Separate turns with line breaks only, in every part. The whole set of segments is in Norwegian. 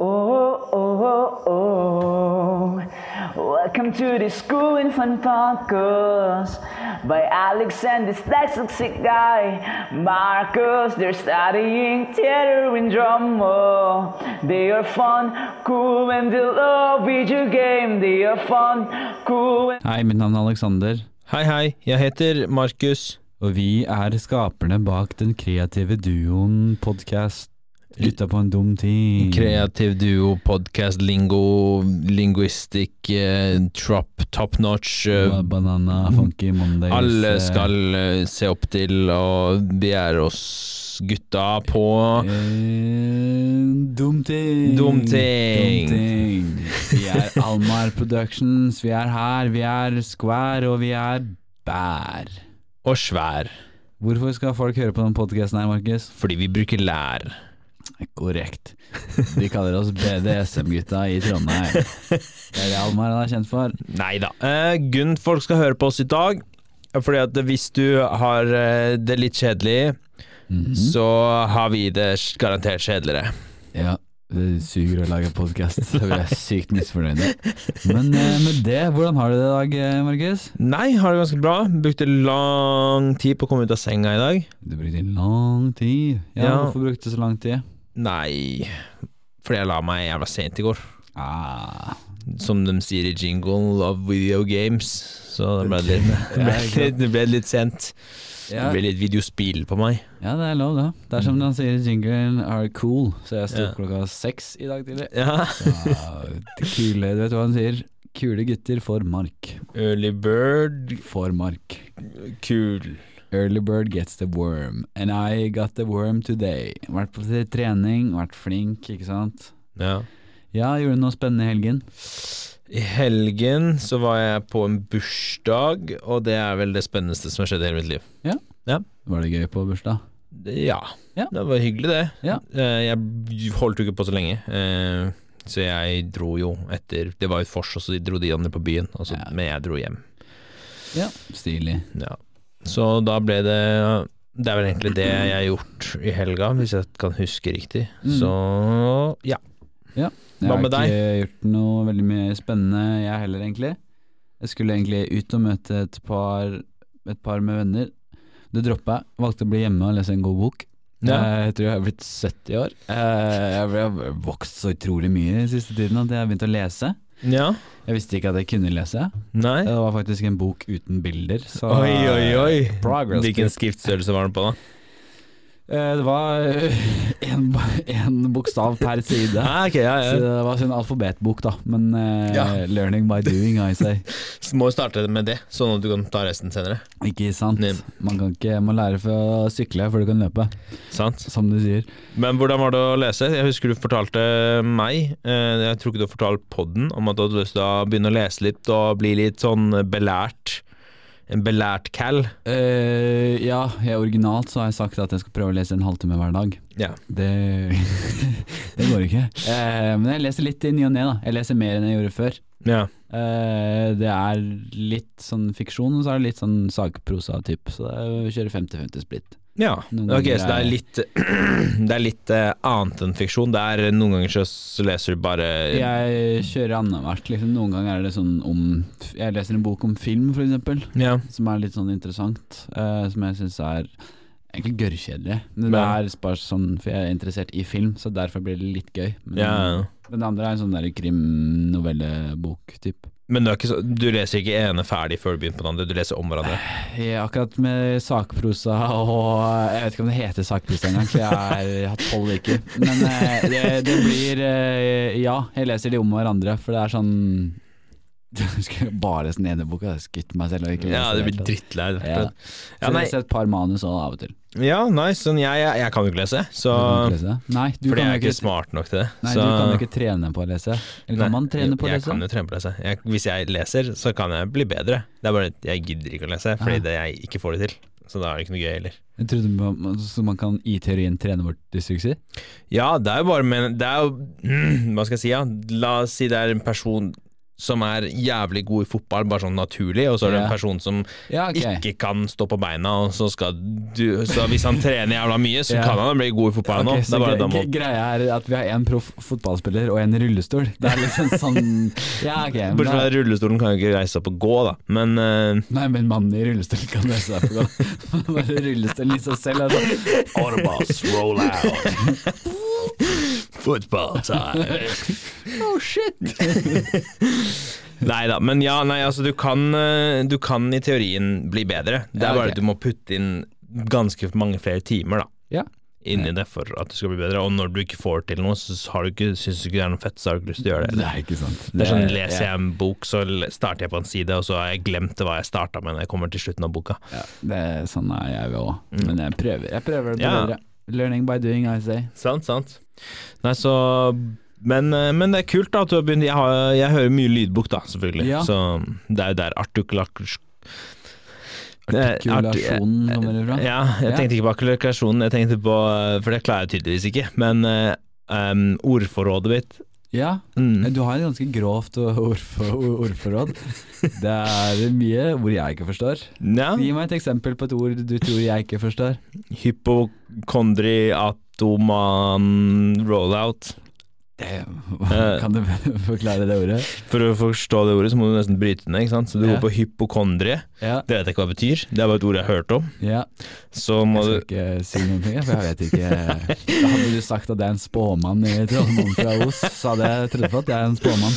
Oh, Welcome to the School in Fun Focus by Alex and this dyslexic guy Marcus. They're studying theater and drama. They are fun, cool, and they love video game. They are fun, cool, and
Hei, mitt navn er Alexander,
Hei, hei, jeg heter Markus.
og vi er skaperne bak den kreative duoen podcast Lytta på en dum ting.
Kreativ duo, podcast, lingo, linguistikk, eh, trop, top notch. eh,
Ba- Banana, Funky Mondays.
alle
eh,
skal eh, se opp til, og vi er oss gutta på
eh, Dum ting.
Dum
Dum
ting.
ting. Vi er Almar Productions, vi er her, vi er Square, og vi er Bær.
og svær,
Hvorfor skal folk høre på den podcasten her, Markus?
fordi vi bruker lær.
Korrekt. De kaller oss BDSM-gutta i Trondheim. Det er det Almar han er kjent for.
Nei da. Eh, grunnen folk skal høre på oss i dag, er fordi at hvis du har eh, det litt kjedelig, så har vi det garantert kjedeligere.
Ja, det suger å lage podkast, så vi er sykt misfornøyde. Men eh, med det, hvordan har du det i dag, eh, Markus?
Nei, har det ganske bra. Brukte lang tid på å komme ut av senga i dag.
Du brukte lang tid. Ja,
Ja.
Hvorfor brukte du så lang tid?
Nei, fordi jeg la meg jævla sent i går.
Ah.
Som de sier i jinglen of video games. Så det ble litt, det ble
ikke sant.
litt, det ble litt sent. Det
Ja.
ble litt videospill på meg.
ja, det er lov, da. Det er som han sier i jinglen, are cool. Så jeg sto
Ja.
opp klokka seks i dag tidlig.
Ja.
Ah, kule, du vet hva han sier? Kule gutter får mark.
Early bird,
Får mark.
kul.
Early bird gets the worm, and I got the worm today. Vært på trening, vært flink, ikke sant?
Ja.
Ja, gjorde du noe spennende i helgen?
I helgen så var jeg på en bursdag, og det er vel det spennendste som har skjedd i hele mitt liv.
Var det gøy på bursdag?
Det- Ja.
Ja.
Det var hyggelig, det.
Ja.
Eh, Jeg holdt jo ikke på så lenge, eh, så jeg dro jo etter Det var jo et vors, og så dro de andre på byen, og så,
Ja.
men jeg dro hjem.
Ja. Stilig.
Ja. Så da ble det Det er vel egentlig det jeg har gjort i helga, hvis jeg kan huske riktig.
Mm.
Så ja. Hva med
Jeg har ikke gjort noe veldig mye spennende, jeg heller, egentlig. Jeg skulle egentlig ut og møte et par, et par med venner. Det droppa jeg. Valgte å bli hjemme og lese en god bok. Eh,
ja.
Jeg tror jeg er blitt 70 år. Eh, Jeg har vokst så utrolig mye den siste tiden at jeg har begynt å lese.
ja.
Jeg visste ikke at jeg kunne lese. Det
Nei.
var faktisk en bok uten bilder. Så
Oi, oi, oi.
eh, Progress
Hvilken
trip.
skriftstørrelse var den på, da?
Eh, Det var én bokstav per side.
Ah, ok, ja,
Så
ja.
det var en alfabetbok, da. Men eh,
Ja.
learning by doing, I say.
Så må jo starte med det, sånn at du kan ta resten senere.
Ikke sant?
Nei.
Man kan ikke man lærer for å sykle før du kan løpe,
Sant?
som du sier.
Men hvordan var det å lese? Jeg husker du fortalte meg, eh, jeg tror ikke du har fortalt podden, om at du hadde lyst til å begynne å lese litt og bli litt sånn belært. En belært cal.
Eh, ja, jeg, originalt så har jeg sagt at jeg skal prøve å lese en halvtime hver dag.
Ja.
Det, det går ikke. Eh, men jeg leser litt i ny og ne, da. Jeg leser mer enn jeg gjorde før.
Ja.
Eh, det er litt sånn fiksjon, og så er det litt sånn sagprosa-typ. Så jeg kjører 50-50 split.
ja.
Noen
Ok,
ganger
så det
er-
er litt, det er litt eh, annet enn fiksjon. Det er eh, noen ganger så s- leser du bare
Jeg kjører annenhvert. Liksom. Noen ganger er det sånn om Jeg leser en bok om film, for eksempel,
Ja.
som er litt sånn interessant. eh, som jeg syns er egentlig gørrkjedelig. Men Det
Ja.
er bare sånn, for jeg er interessert i film, så derfor blir det litt gøy. Men,
ja.
men det andre er en sånn der krimnovellebok-typ.
Men det er ikke så, du leser ikke ene ferdig før du begynner på den andre, du leser om hverandre.
Ja, akkurat med sakprosa og Jeg vet ikke om det heter sakprosa engang, for jeg har hatt tolv uker. Men eh, det, det blir eh, Ja, jeg leser de om hverandre, for det er sånn Skulle jeg bare lese den ene boka, hadde jeg skutt meg selv. og ikke
Ja,
lest
du
det
blir
hele tatt.
drittlei.
Ja.
Ja,
Så
nei.
leser jeg et par manus òg, av og til.
Ja, nice. Sånn, jeg, jeg, jeg kan jo ikke lese, så
Kan du ikke lese? Nei, du
Fordi
kan jo
jeg er ikke
ikke,
smart nok til det.
nei,
så-
du kan jo ikke trene på å lese. Eller
Nei,
kan man trene på å
jeg
lese?
kan jo trene på å lese. Jeg, hvis jeg leser, så kan jeg bli bedre. Det er bare at jeg gidder ikke å lese, fordi
Ah.
det jeg ikke får det til. Så da er det ikke noe gøy heller.
Jeg trodde man, så man kan i teorien trene bort dysleksi?
Ja, det er jo bare men Det er jo Hva skal jeg si, ja? La oss si det er en person som er jævlig god i fotball, bare sånn naturlig, og så er det
Ja.
en person som
Ja, ok.
ikke kan stå på beina, og så skal du Så hvis han trener jævla mye, så
Ja.
kan han bli god i fotball nå.
Ok,
Det
så
er bare
gre
da må
gre- greia er at vi har en proff fotballspiller og en i rullestol. Det er liksom sånn Ja, ok. men
Bortsett
da-
fra rullestolen kan jo ikke reise opp og gå, da, men eh,
Nei, men mannen i rullestol kan løse deg på godt. Bare rullestolen i seg selv er sånn Autobots, roll out. Football time. Oh shit.
Nei da, men ja, nei, altså du kan, eh, du kan i teorien bli bedre. Det
Ja,
er
ok.
bare at du må putte inn ganske mange flere timer da,
Ja.
inni det for at du skal bli bedre. Og når du ikke får til noe, så har du ikke, syns du ikke det er noe fett, så har du ikke lyst til å gjøre det.
Det er ikke sant.
Det er sånn, Leser jeg en bok, så l- starter jeg på en side, og så har jeg glemt hva jeg starta med når jeg kommer til slutten av boka.
Ja, det er sånn er jeg òg. Men jeg prøver. Jeg prøver å bli
Mm. Ja.
bedre. Learning by doing, I say.
Sant, sant. Nei, så men, eh, men det er kult da at du har begynt Jeg, har, jeg hører mye lydbok, da, selvfølgelig.
Ja.
Så det er jo der artikulak...
Artikulasjonen kommer ifra.
Ja, jeg
Ja.
tenkte ikke på artikulasjonen, jeg tenkte på eh, For det klarer jeg tydeligvis ikke, men eh, em, ordforrådet mitt
Ja.
mm.
Du har et ganske grovt ordfor- ordforråd. Det er mye ord jeg ikke forstår.
Ja.
Gi meg et eksempel på et ord du tror jeg ikke forstår.
Hypokondriatoman rollout.
Det,
Eh.
kan du forklare det ordet?
For å forstå det ordet, så må du nesten bryte ned, ikke sant. Så du
Ja.
går på hypokondrie.
Ja,
Det vet jeg ikke hva det betyr, det er bare et ord jeg har hørt om.
ja.
Så
Jeg
må du
skal ikke si noen ting, for jeg vet ikke Da hadde du sagt at det er en spåmann i Trondheim fra Os, så hadde jeg trodd på at jeg er en spåmann.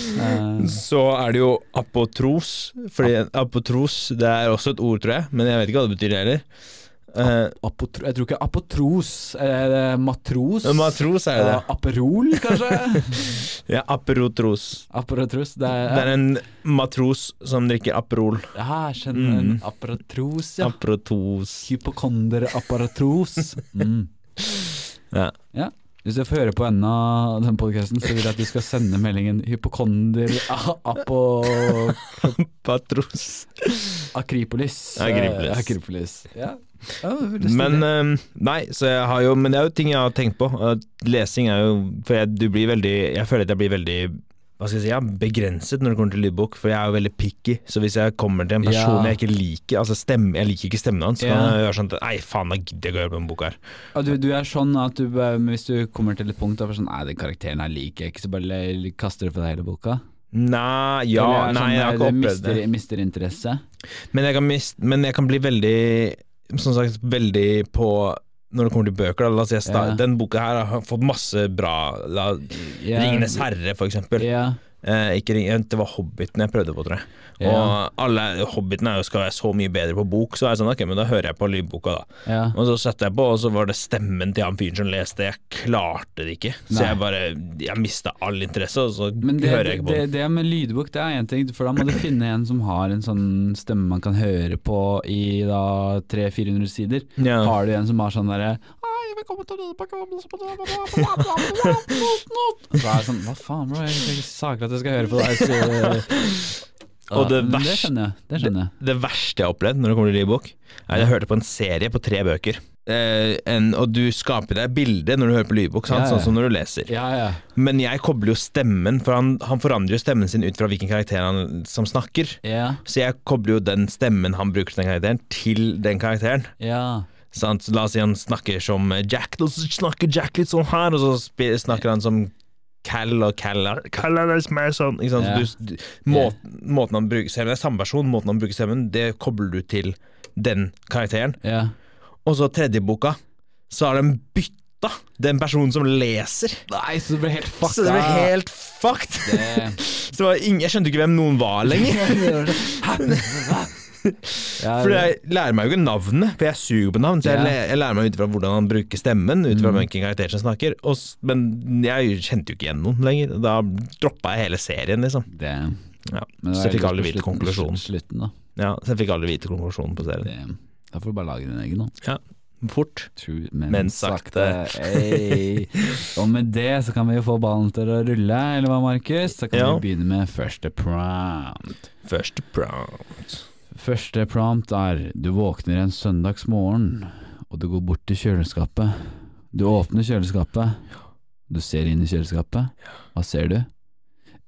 Eh,
Så er det jo apotros, fordi apotros det er også et ord, tror jeg, men jeg vet ikke hva det betyr heller. Eh,
apotro, jeg tror ikke apotros, er det matros?
men matros er jo det.
Eh, Aperol, kanskje?
Ja, aperotros.
Aperotros, det er,
Det er en matros som drikker Aperol.
Ja, jeg skjønner en
Mm.
apparatros, ja.
Aprotos.
Hypokonder-apparatros. Mm.
Ja.
Hvis du får høre på enden av den podcasten, så vil jeg at du skal sende meldingen hypokonder-akripolis.
Patros. Akripolis.
Akripolis. Eh, Akripolis. Ja. Ja, det er
Men
stilig.
eh, Nei, så jeg har jo Men det er jo ting jeg har tenkt på. At lesing er jo For jeg, du blir veldig Jeg føler at jeg blir veldig hva skal jeg si, ja, begrenset når det kommer til lydbok, for jeg er jo veldig picky. Så hvis jeg kommer til en person
Ja.
jeg ikke liker, altså stemme, jeg liker ikke stemmen hans, så
Ja.
kan jeg gjøre sånn at Nei, faen, da gidder jeg ikke å høre på den boka her.
Ja, du, du er sånn at du, bare- hvis du kommer til et punkt der sånn, nei, den karakteren her liker jeg ikke, så bare le- kaster du på deg hele boka.
Nei, ja,
Eller er det
nei,
sånn
jeg har
der
ikke
du
opplevd
mister,
det.
mister interesse.
Men jeg, kan mist, men jeg kan bli veldig Som sagt, veldig på Når det kommer til bøker da, la oss si jeg sta-
Ja.
Den boka her har fått masse bra la,
Ja.
Ringenes herre for eksempel
Ja.
eh, ikke ring, Det var Hobbiten jeg prøvde på, tror jeg
Ja.
Og alle Hobbiten er jo skal være så mye bedre på bok Så er jeg sånn, ok, men da hører jeg på lydboka da
ja.
Og så setter jeg på, og så var det stemmen til han fyren som leste Jeg klarte det ikke Så
Nei.
jeg bare, jeg mistet all interesse Og så
Men det,
hører jeg
det,
ikke på
det, det med lydbok det er én ting, for da må du finne en som har en sånn stemme man kan høre på i da 300-400 sider.
den ja.
Har du en som har sånn derre «Hei, velkommen til denne pakken, så på det, bla, bla, bla, bla, bla, not, not». Så er det sånn Hva faen, bro, jeg er ikke saker at jeg skal høre på deg. Så,
Og det
Men det
vers-
skjønner jeg. Det skjønner jeg.
Det verste jeg har opplevd når det kommer til lydbok, er at jeg hørte på en serie på tre bøker. Eh, en, og du skaper deg bilde når du hører på lydbok, sant?
Ja, ja.
sånn som når du leser.
Ja, ja.
Men jeg kobler jo stemmen, for han, han forandrer jo stemmen sin ut fra hvilken karakter han som snakker.
Ja,
Så jeg kobler jo den stemmen han bruker til den karakteren, til den karakteren.
ja.
Sant? Så La oss si han snakker som Jack, og så snakker Jack litt sånn her, og så sp- snakker han som Cal og Cal er- Cal er litt mer sånn ikke sant?
Ja.
Så du, du, måten, måten han bruker stemmen, det er samme person, måten han bruker stemmen, det kobler du til den karakteren.
ja.
Og så tredje boka, så har de bytta den personen som leser.
Nei, så det blir helt fucka.
Så det ble helt fucked! Så det var ingen, jeg skjønte ikke hvem noen var lenger.
Ja,
For jeg lærer meg jo ikke navnet, for jeg suger på navn. Så jeg,
Ja. Mm.
læ- jeg lærer meg ut fra hvordan han bruker stemmen, ut fra hvilken karakter som snakker. Og, s- men jeg kjente jo ikke igjen noen lenger. Da droppa jeg hele serien, liksom.
det,
Ja.
men det var
Så jeg fikk
ellers
aldri
på
vite
slutten-
konklusjonen.
Slutten, da.
Ja, så jeg fikk aldri vite konklusjonen på serien.
Det, da får du bare lage din egen, da.
Ja, Fort.
True, men,
Men sakte.
Ey. Og med det så kan vi jo få ballen til å rulle, eller hva, Markus? Så kan
Ja.
vi begynne med første prompt.
Første prompt.
Første prompt er du våkner en søndagsmorgen, og du går bort til kjøleskapet. Du åpner kjøleskapet, du ser inn i kjøleskapet. Hva ser du?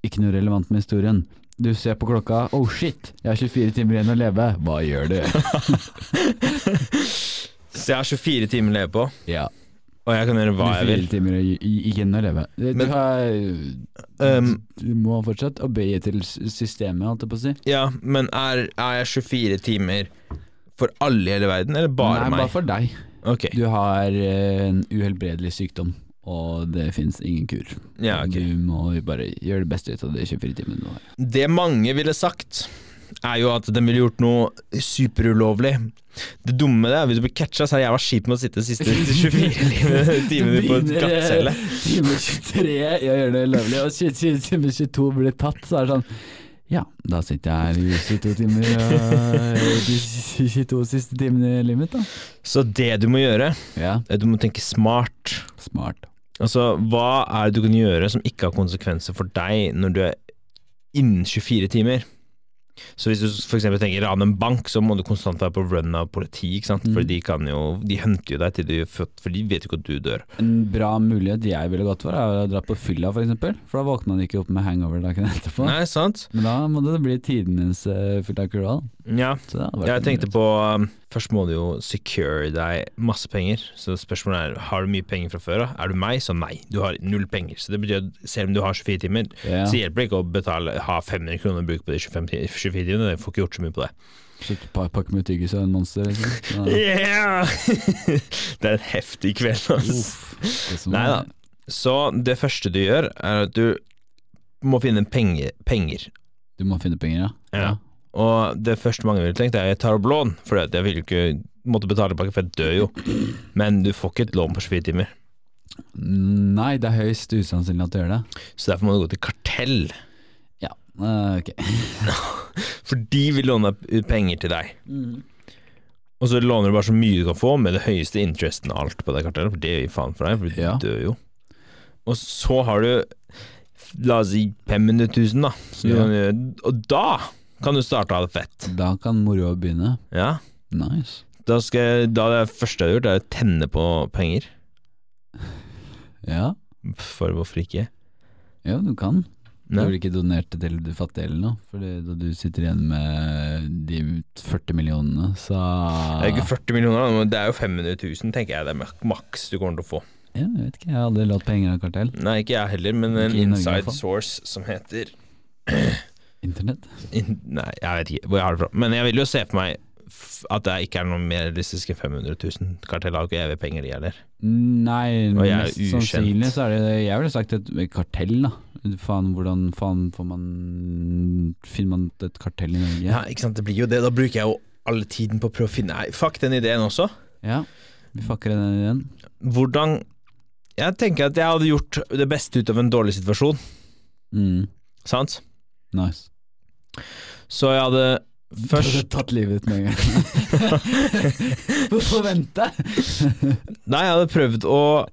Ikke noe relevant med historien. Du ser på klokka. Oh shit, jeg har 24 timer igjen å leve. Hva gjør du?
Så jeg har 24 timer å leve på,
Ja,
og jeg kan gjøre hva jeg vil.
24 timer i- i- igjen å leve. Du,
Men- eh,
har,
Um,
du må fortsatt obeye til s- systemet, holdt jeg på å si.
ja, men er, er jeg 24 timer for alle i hele verden, eller bare
Nei,
meg?
bare for deg.
Ok,
Du har eh, en uhelbredelig sykdom, og det fins ingen kur.
ja, ok.
Du må bare gjøre det beste ut av de 24 timene du har.
Det mange ville sagt, er jo at den ville gjort noe superulovlig. Det dumme det er hvis du blir catcha, så er det jævla kjipt med å sitte de siste 24 timene på en
Begynner, eh,
glattcelle.
Time 23 i å gjøre det lovlig, og tjue- tjue- time 22 blir tatt, så er det sånn Ja, da sitter jeg her i 22 timer, og de 22 siste timene i livet mitt, da.
Så det du må gjøre,
Ja,
er at du må tenke smart.
smart.
Altså, hva er det du kan gjøre som ikke har konsekvenser for deg når du er innen 24 timer? Så hvis du f.eks. tenker rane en bank, så må du konstant være på run av politi, ikke sant? for
Mm.
de kan jo De hunter jo deg til du er født, for de vet jo ikke at du dør.
En bra mulighet jeg ville gått for, er å dra på fylla, for eksempel. For da våkna han ikke opp med hangover dagen etterpå.
Nei, sant?
Men da måtte det bli tidenes uh, fylla kurval.
Ja.
Så det hadde vært
Jeg
en
tenkte
mulighet.
på um, Først må du jo secure deg masse penger. Så spørsmålet er har du mye penger fra før av. Er du meg, så nei. Du har null penger. Så det betyr at selv om du har 24 timer,
ja.
så hjelper det ikke å betale, ha 500 kroner å bruke på de 25 ti- 24 timene. Du får ikke gjort så mye på det.
Slutt å pakke med tyggis og en monster, liksom. Ja.
Yeah! det er en heftig kveld, altså.
Uff, det som
Nei da.
er-
Så det første du gjør, er at du må finne penge, penger.
Du må finne penger, ja.
Ja. Og det første mange ville tenkt, er jeg tar opp lån, for jeg vil jo ikke måtte betale tilbake, for jeg dør jo. Men du får ikke et lån på 24 timer,
Nei, det er høyst usannsynlig at du gjør det.
så derfor må du gå til kartell.
Ja, eh, ok.
For de vil låne deg penger til deg. Og så låner du bare så mye du kan få, med det høyeste interesten av alt på det kartellet, for det gir faen for deg, for du
Ja.
dør jo. Og så har du, la oss si 500 000, da. Så du
Ja.
kan gjøre, og da kan du starte å ha det fett.
Da kan moroa begynne.
Ja.
Nice.
Da, skal, jeg- da det første jeg har gjort, er å tenne på penger.
Ja,
For hvorfor ikke?
ja du kan. Du
Nei.
ville ikke donert det til de fattige eller noe, for da du sitter igjen med de 40 millionene, så
Det er jo ikke 40 millioner, men det er jo 500 000, tenker jeg det er mak- maks du kommer til å få.
Ja, jeg vet ikke, jeg hadde latt penger av kartell.
Nei, ikke jeg heller, men en
Ikke i Norge, i hvert
inside
fall.
source som heter
Internett.
In- Nei, jeg vet ikke hvor jeg har det fra. Men jeg vil jo se for meg f- at det ikke er noe mer realistisk enn 500 000. Kartell har jo ikke evig penger, de heller.
Nei,
Og jeg er
mest
ukjent.
sannsynlig så er det det Jeg ville sagt et kartell, da. Faen, hvordan faen får man Finner man et kartell i Norge?
Ja, ikke sant, det blir jo det. Da bruker jeg jo alle tiden på å prøve å finne Nei, fuck den ideen også.
Ja, vi fucker den igjen.
Hvordan Jeg tenker at jeg hadde gjort det beste ut av en dårlig situasjon,
Mm,
sant?
nice.
Så jeg hadde
Du
først
hadde tatt livet ditt med en gang. Hvorfor vente?
Nei, jeg hadde prøvd å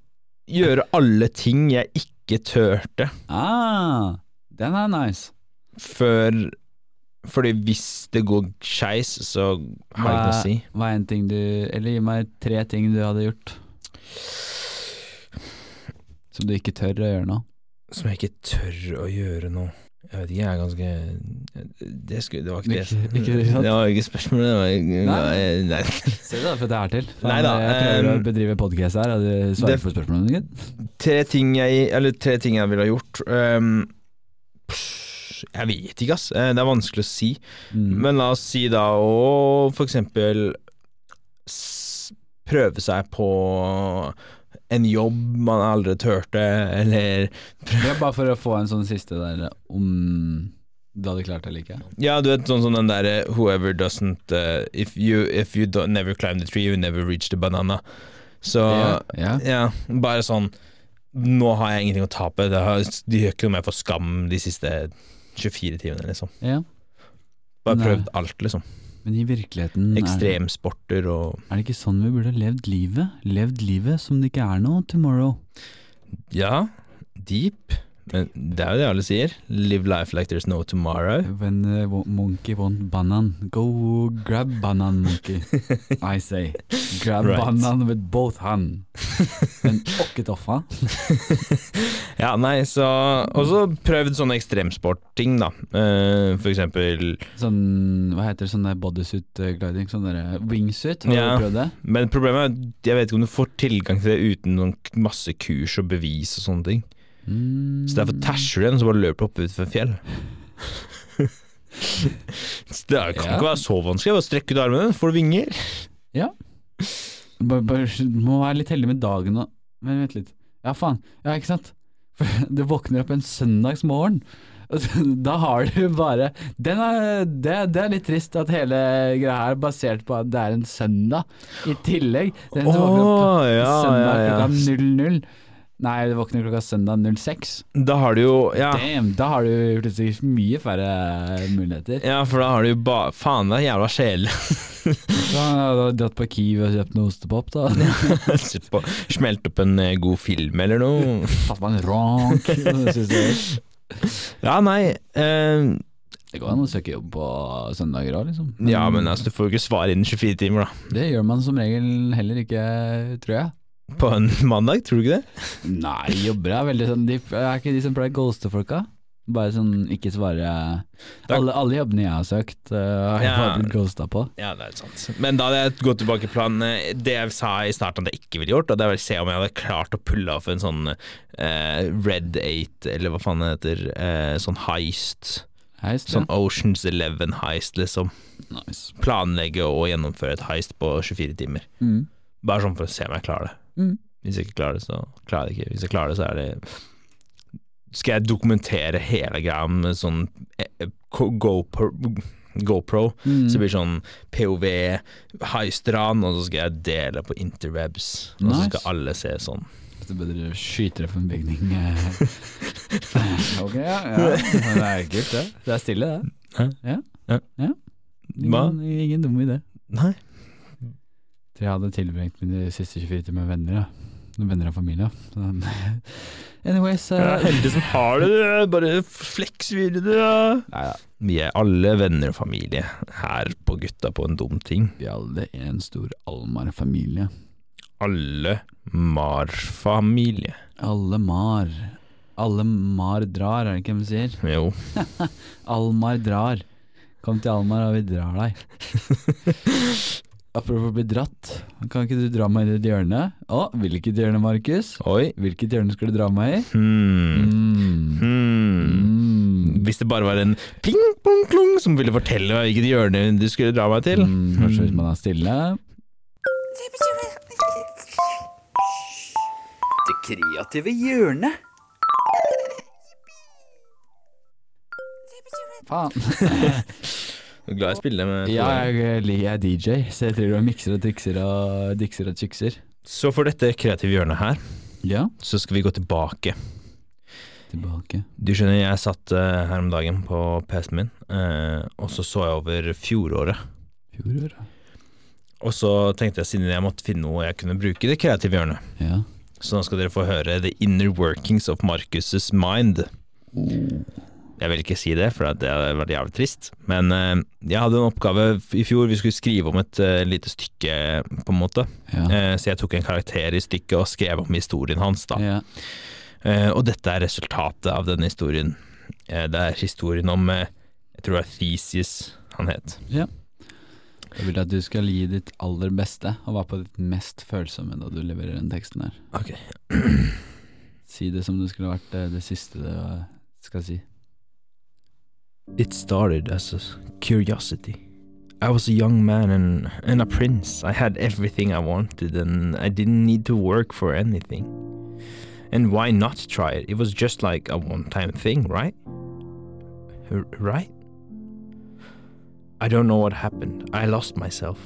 gjøre alle ting jeg ikke turte
Ah, den er nice.
før Fordi hvis det går skeis, så har det ikke noe å si.
Hva er en ting du Eller gi meg tre ting du hadde gjort som du ikke tør å gjøre nå.
som jeg ikke tør å gjøre nå. Jeg vet ikke, jeg er ganske Det, skulle, det var ikke det
Ikke- ikke sant?
Det var ikke spørsmålet. Det var,
Nei.
nei.
Se da, for det er til. Faen,
Nei da,
jeg prøver
ehm,
å bedrive podkast her, og du svarer
det-
på spørsmålene dine. gitt.
Tre ting jeg Eller tre ting jeg ville ha gjort. Ehm, pff, jeg vet ikke, ass. Eh, Det er vanskelig å si.
Mm.
Men la oss si da å for eksempel s- prøve seg på en jobb man aldri turte, eller
Det er bare for å få en sånn siste der om du hadde klart det eller ikke.
Ja, du vet sånn som den derre Whoever doesn't eh, If you, if you don't, never climb the tree, you never reach the banana. Så
Ja, ja.
ja, bare sånn Nå har jeg ingenting å tape. Det har, de gjør ikke noe mer for skam de siste 24 timene, liksom.
ja.
Bare
Nei.
prøvd alt, liksom.
Men i virkeligheten er det-
Ekstremsporter og
Er det ikke sånn vi burde ha levd livet? Levd livet som det ikke er noe tomorrow.
Ja, deep. Men det er jo det alle sier. Live life like there's no tomorrow.
When uh, wo- monkey want banan, go grab banan monkey. I say, grab
Right.
banan with both hand. Men okketoffa.
Ja, nei, så Og så prøvd sånne ekstremsportting, da. Eh, for eksempel
Sånn, hva heter det, sånn der bodysuit eh, gliding, sånn der wingsuit, har
Ja.
du prøvd det?
Men problemet er at jeg vet ikke om du får tilgang til det uten noen k- masse kurs og bevis og sånne ting.
Mm.
Så derfor tæsjer du den, og så bare løper du opp ut fra et fjell. Så det er- kan
Ja.
ikke være så vanskelig. Bare strekk ut armene, får du vinger.
Bare, bare, må være litt heldig med dagen nå. Men vent litt. Ja, faen. Ja, ikke sant? For du våkner opp en søndagsmorgen. og Da har du bare den er, det, det er litt trist at hele greia her er basert på at det er en søndag i tillegg. Den som våkner opp
Åh,
søndag
ja, ja, ja.
klokka 00 Nei, du våkner klokka søndag 06.
Da har du jo ja.
Damn, da har du plutselig mye færre muligheter.
ja, for da har du jo ba... Faen, det er jævla kjedelig.
Så han hadde dratt på Kiwi og kjøpt noe ostepop, da.
Sitt på- Smelt opp en eh, god film eller noe.
Tatt meg en ronk. Synes jeg.
Ja, nei. eh,
Det går an å søke jobb på søndager òg, liksom.
ja, men altså, du får jo ikke svar innen 24 timer, da.
Det gjør man som regel heller ikke, tror jeg.
På en mandag, tror du ikke det?
Nei, jobber er veldig sånn De er ikke de som pleier å ghoste folka. Bare sånn ikke svare
Da-
alle, alle jobbene jeg har søkt, eh, har jeg
Ja.
bare blitt ghosta på.
Ja, det er sant. Men da hadde jeg gått tilbake til planen eh, Det jeg sa i starten at jeg ikke ville gjort, og det er å se om jeg hadde klart å pulle av en sånn eh, Red 8, eller hva faen det heter, eh, sånn heist.
Heist,
Sånn Oceans Eleven-heist, liksom.
ja. Nice.
Planlegge og gjennomføre et heist på 24 timer.
Mm.
Bare sånn for å se om jeg klarer det.
Mm.
Hvis jeg ikke klarer det, så klarer jeg det ikke. Hvis jeg klarer det, så er det Skal jeg dokumentere hele greia med sånn eh, eh, GoPro, GoPro
Mm.
så det blir sånn POV, heistran, og så skal jeg dele på interwebs. Og så
Nice.
skal alle se sånn.
Det er bedre å skyte deg på en bygning. eh. ok, ja, ja. Det er kult, det. Det er stille, det.
Hæ?
Ja.
Ja.
ja.
Hva?
Ingen, ingen dum idé.
Nei.
Så jeg hadde tilbringt mine siste 24 timer med venner. Da. Med Venner og familie. Så, anyways
Jeg
eh,
er heldig som har det, bare fleksvidde det.
Neida,
Vi er alle venner og familie her på Gutta på en dum ting.
Vi er alle en stor Almar-familie.
Alle Mar-familie.
Alle Mar. Alle Mar drar, er det ikke hvem sier?
Jo.
Almar drar. Kom til Almar, og vi drar deg. Apropos bli dratt, kan ikke du dra meg inn i et hjørne? Å, hvilket hjørne, Markus?
Oi.
Hvilket hjørne skal du dra meg i?
Hmm.
Mm.
Hmm.
Mm.
Hvis det bare var en pling-plong-klong som ville fortelle meg hvilket hjørne du skulle dra meg til.
Mm. Kanskje hvis man er stille?
Det kreative hjørnet.
Faen.
Du er glad i å spille med
Ja, jeg, jeg er DJ, så jeg driver og mikser og trikser og dikser og chikser.
Så for dette kreative hjørnet her,
Ja.
så skal vi gå tilbake.
Tilbake.
Du skjønner, jeg satt eh, her om dagen på PC-en min, eh, og så så jeg over fjoråret.
Fjorår.
Og så tenkte jeg, siden jeg måtte finne noe jeg kunne bruke i det kreative hjørnet,
Ja.
så nå skal dere få høre The Inner Workings of Marcus' Mind. Jeg vil ikke si det, for det hadde vært jævlig trist. Men eh, jeg hadde en oppgave i fjor, vi skulle skrive om et eh, lite stykke, på en måte.
Ja.
Eh, så jeg tok en karakter i stykket og skrev om historien hans, da.
ja.
Eh, og dette er resultatet av denne historien. Eh, det er historien om eh, Jeg tror det er Thesis han het.
Jeg vil at du skal gi ditt aller beste, og være på ditt mest følsomme da du leverer den teksten her.
Ok.
Si det som det skulle vært eh, det siste du eh, skal si.
It started as a curiosity. I was a young man and, and a prince. I had everything I wanted and I didn't need to work for anything. And why not try it? It was just like a one time thing, right? R- right? I don't know what happened. I lost myself.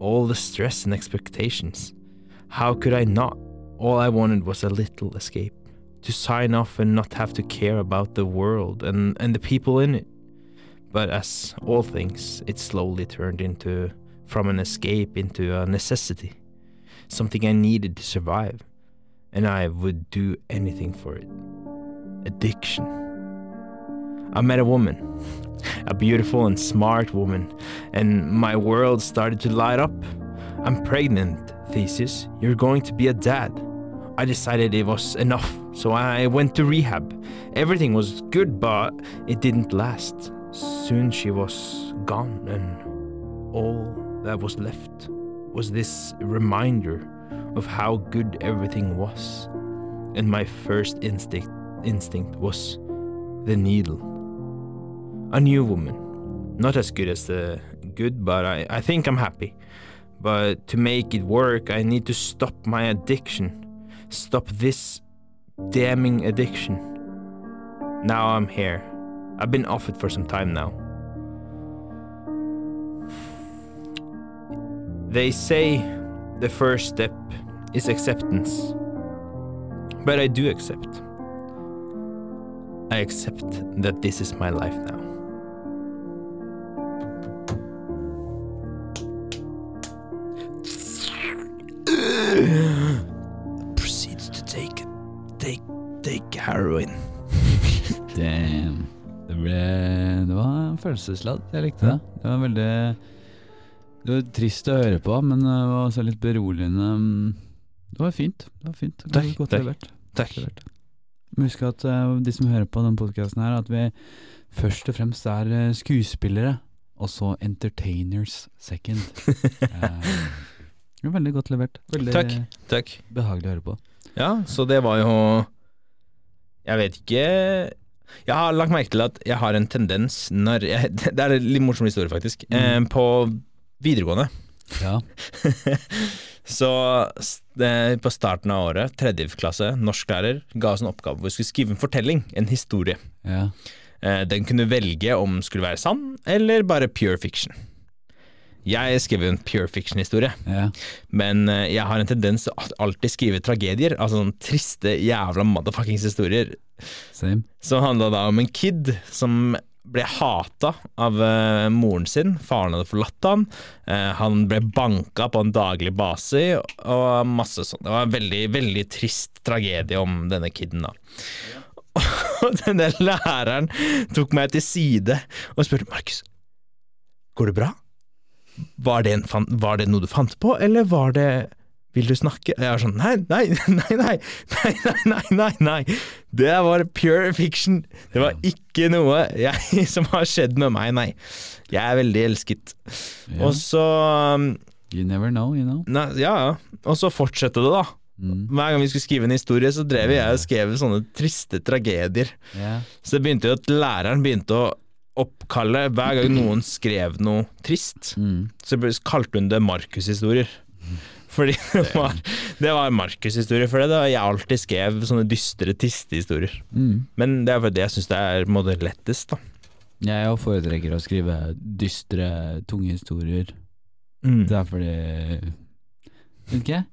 All the stress and expectations. How could I not? All I wanted was a little escape. To sign off and not have to care about the world and, and the people in it. But as all things, it slowly turned into from an escape into a necessity, something I needed to survive, and I would do anything for it. addiction. I met a woman, a beautiful and smart woman, and my world started to light up. I'm pregnant, Theseus. You're going to be a dad. I decided it was enough, so I went to rehab. Everything was good, but it didn't last. Soon she was gone, and all that was left was this reminder of how good everything was. And my first instinct instinct was the needle. A new woman. Not as good as the good, but I, I think I'm happy. But to make it work, I need to stop my addiction. Stop this damning addiction. Now I'm here. I've been off it for some time now. They say the first step is acceptance. But I do accept. I accept that this is my life now. Proceeds to take take take heroin.
Damn. Det ble Det var en følelsesladd. Jeg likte det. Det var veldig Det var trist å høre på, men det var også litt beroligende. Det var fint. Det var fint. Det var
Takk,
Godt
takk.
levert.
Takk.
Husk at eh, de som hører på denne podkasten her, at vi først og fremst er eh, skuespillere, og så entertainers second. Eh, det var veldig godt levert. Veldig
Takk.
eh,
Takk.
behagelig å høre på.
Ja, så det var jo Jeg vet ikke Jeg har lagt merke til at jeg har en tendens når jeg, Det er en litt morsom historie, faktisk. Eh, på videregående
Ja.
så s- eh, på starten av året, tredje klasse, norsklærer ga oss en oppgave hvor vi skulle skrive en fortelling, en historie.
ja.
Eh, Den kunne velge om den skulle være sann, eller bare pure fiction. Jeg skrev jo en pure fiction-historie,
ja.
men eh, jeg har en tendens til å al- alltid skrive tragedier, altså sånne triste jævla motherfuckings historier,
Same.
som handla da om en kid som ble hata av eh, moren sin. Faren hadde forlatt han. Eh, han ble banka på en daglig base og masse sånn. Det var en veldig, veldig trist tragedie om denne kiden, da. Og denne læreren tok meg til side og spurte Markus, går det bra? Var det, en fan, var det noe du fant på, eller var det vil du snakke? Og jeg var sånn nei, nei, nei, nei, nei, nei, nei, nei, nei. Det var pure fiction. Det var ikke noe jeg, som har skjedd med meg, nei. Jeg er veldig elsket.
Ja.
Og så um,
You never know, you know.
nei, Ja, ja. Og så fortsette det, da.
Mm.
Hver gang vi skulle skrive en historie, så drev jeg og skrev sånne triste tragedier.
Ja.
Så det begynte jo at læreren begynte å oppkalle Hver gang noen skrev noe trist,
Mm.
så ble- kalte hun det Markus-historier. Fordi det var, det var Markus-historier for det. Da. Jeg alltid skrev sånne dystre, triste historier.
Mm.
Men det er fordi jeg syns det er på en måte lettest, da.
Jeg jo foretrekker å skrive dystre, tunge historier. Det er fordi Vet ikke jeg.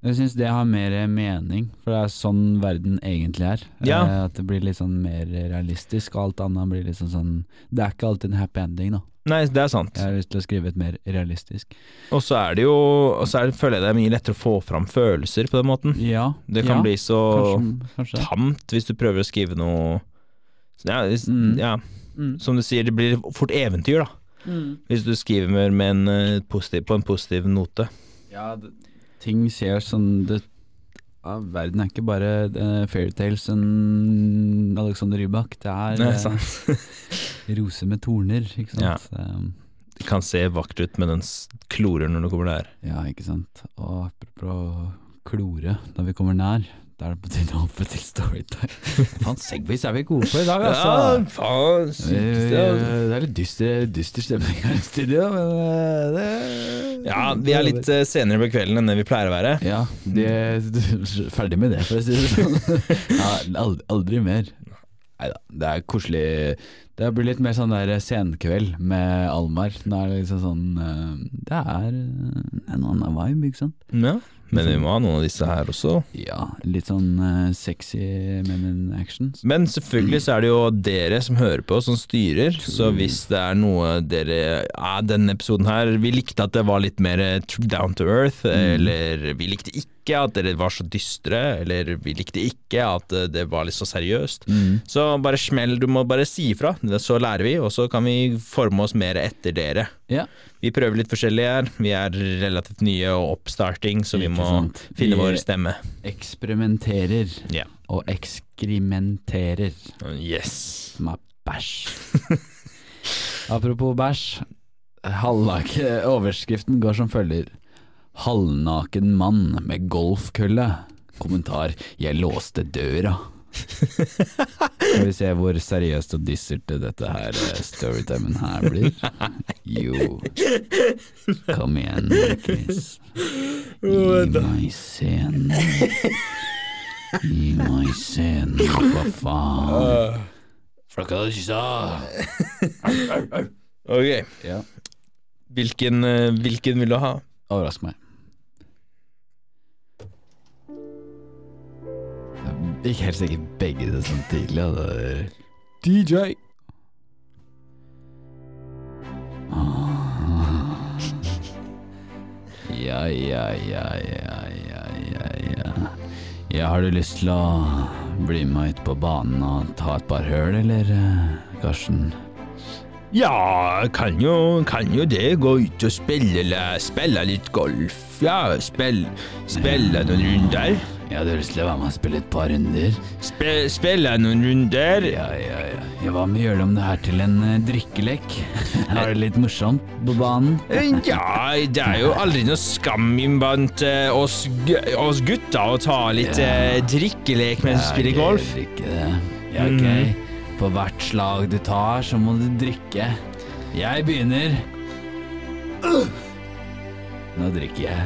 Jeg syns det har mer mening, for det er sånn verden egentlig er.
Ja.
Eh, At det blir litt sånn mer realistisk, og alt annet blir liksom sånn Det er ikke alltid en happy ending, da.
Nei, det er sant.
Jeg har lyst til å skrive et mer realistisk.
Og så er det jo Og så er det, føler jeg det er mye lettere å få fram følelser på den måten.
Ja.
Det kan
ja,
bli så
Kanskje, kanskje.
tamt hvis du prøver å skrive noe ja, hvis,
Mm.
ja,
Mm.
som du sier, det blir fort eventyr, da. Hvis du skriver med, med en, eh, positiv, på en positiv note.
Ja, det, ting ser sånn det, ja, Verden er ikke bare uh, fairytales enn Alexander Rybak. Det er
Nei,
eh,
sant.
roser med torner, ikke sant.
Ja.
Um,
Det kan se vakkert ut, men den s- klorer når du kommer der.
Ja, ikke sant. Og apropos klore, da vi kommer nær, da er det på tide å hoppe til storytime. Faen, segways er vi gode på i dag, altså.
faen
Vi- vi- Det er litt dyster, dyster stemning her i studio, men eh, det
Ja, vi er litt eh, senere på kvelden enn det vi pleier å være.
Ja, de, ferdig med det, for å si det sånn. Ja, aldri, aldri mer. Nei da, det er koselig. Det blir litt mer sånn der senkveld med Almar. Nå er det liksom sånn eh, Det er eh, en annen vibe, ikke sant?
Ja, men vi må ha noen av disse her også.
Ja, litt sånn eh, sexy men in action.
Men selvfølgelig så er det jo dere som hører på, som styrer. Så hvis det er noe dere
Mm.
ja, denne episoden her Vi likte at det var litt mer eh, tr- down to earth, eh, eller vi likte ikke ikke at dere var så dystre, eller vi likte ikke at eh, det var litt så seriøst.
Mm.
Så bare smell, du må bare si ifra, så lærer vi, og så kan vi forme oss mer etter dere.
Ja,
Vi prøver litt forskjellig her, vi er relativt nye og oppstarting, så vi
Ikke
må
sant.
finne
Vi-
vår stemme.
eksperimenterer
Ja.
og ekskrimenterer,
Yes.
som er bæsj. Apropos bæsj, halvnake, overskriften går som følger. Halvnaken mann med golfkølle. Kommentar, jeg låste døra. Skal vi se hvor seriøst og dystert dette her eh, storytimen her blir. Jo, kom igjen, Markus. Gi meg scenen. Gi meg scenen, for faen. For hva du sa?
Ok,
Ja,
hvilken, eh, hvilken vil du ha?
overrask meg. Jeg gikk helt sikkert begge det sånn tidlig. og det er DJ! Ah. Ja, ja, ja, ja, ja, ja, ja. Ja, har du lyst til å bli med ut på banen og ta et par høl, eller, eh, Karsten?
Ja, kan jo, kan jo det. Gå ut og spille, la- spille litt golf. Ja, spill, spille noen runder.
Ja, du har lyst til å være med og spille et par runder?
Spe, spille noen runder.
Ja, ja, ja. ja. Hva med å gjøre om det her til en eh, drikkelek? Er det litt morsomt på banen?
Eh, Ja, det er jo aldri noe skam iblant eh, oss, gu- oss gutta å ta litt
Ja.
eh, drikkelek mens vi
Ja,
spiller
det
golf. Mm.
gjør Ikke det. Ja, ok. For hvert slag du tar, så må du drikke. Jeg begynner. Nå drikker jeg.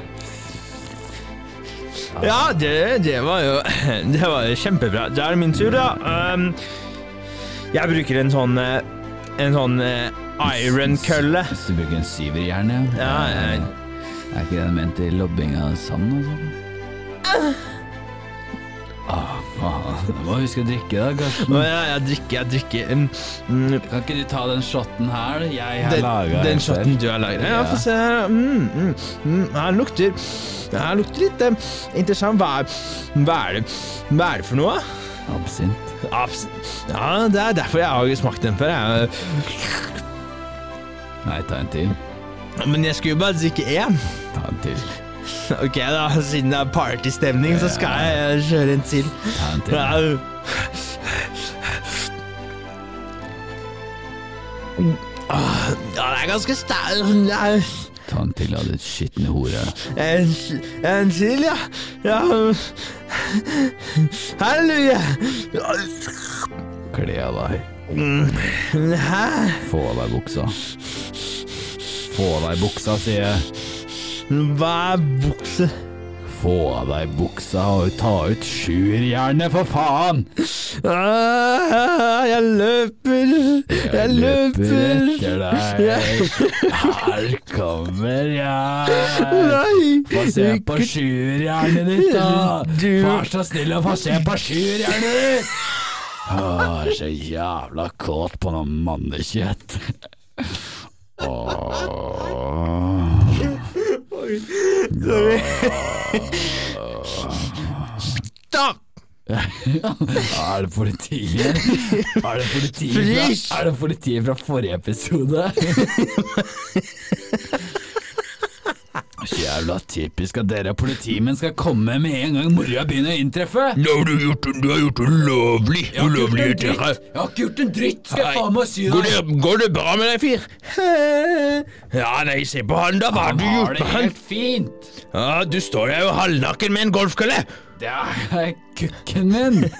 Ja, det, det var jo Det var jo kjempebra. Da er det min tur, da. Um, jeg bruker en sånn eh, En sånn eh, iron-kølle.
Hvis du bruker en syver, gjerne.
Ja, ja, ja.
Er ikke den ment til lobbing av sand og sånn? Ah, faen. Du må huske å drikke, da, Karsten.
Å, ja, jeg drikker, jeg drikker. Mm, mm,
Kan ikke du ta den shotten her? Jeg har
den,
laga
den shoten du har laget. Ja,
Ja.
få se her. Mm, mm, mm, her lukter Her lukter litt eh, interessant. Hva er, hva, er det, hva er det for noe?
Absint.
Abs ja, det er derfor jeg har ikke smakt den før. Jeg.
Nei, ta en til.
Men jeg skulle jo bare drikke én.
Ta en til.
Ok, da, siden det er partystemning, så skal jeg eh, kjøre en til.
Ta en til.
Ja. Ah, Ja, det er ganske sterk Det er
Ta en til av ditt skitne hore.
En, en til, ja. ja. Halleluja.
Kle av deg.
Hæ?
Få av deg buksa. Få av deg buksa, sier jeg.
Hva er bukse?
Få av deg buksa og ta ut sjuerjernet, for faen!
Ah, jeg løper, jeg løper.
etter deg. Her kommer jeg.
Nei,
Få se på
ikke-
sjuerjernet ditt, da!
Du-
Vær så snill å få se på sjuerjernet ditt! Å, jeg er så jævla kåt på noe mannekjøtt. Åh.
Stopp!
Er det politiet? Er det politiet
Frys!
fra, er det politiet fra forrige episode? Så Jævla typisk at dere politimenn skal komme med en gang moroa begynner å inntreffe.
Nå har du gjort det, du har gjort det ulovlig. Ulovlig, dere.
Jeg har ikke gjort en dritt, skal
Nei.
jeg faen meg si
Går
deg.
det, går det bra med deg, fyr? Ja, nei, se på han da, hva har du
har
gjort
det
med han?
helt fint.
Ja, du står der jo halvnaken med en golfkølle.
Det er kukken min.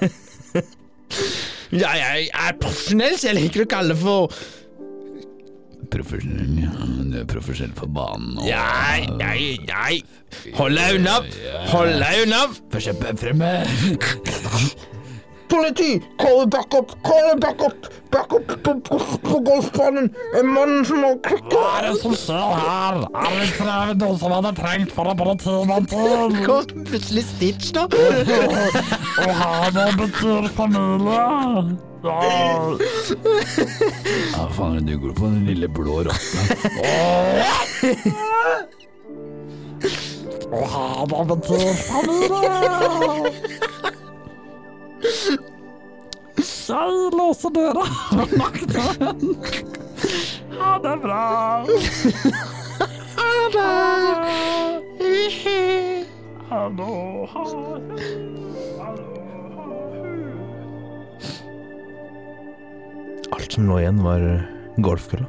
Ja, jeg er profesjonell, så jeg liker å kalle for
Profesjonell. ja. Du er profesjonell på banen nå.
Nei, nei, nei. Hold deg unna. Hold deg unna.
Få kjøpe fremme.
Politi! Call backup! Call backup! Backup på, på, på golfbanen! En mann som har
Hva er det som skjer her? Er det ikke det noen som hadde trengt for en politimann til?
Kom plutselig Stitch, da.
Og her nå betyr familie. Ja.
Hva faen er det du går på, den lille blå rotta?
å ha en eventyrfamilie. Jeg låser døra og makter den. Ha det bra. Ha det. Ha det.
Alt som lå igjen, var golfkølla.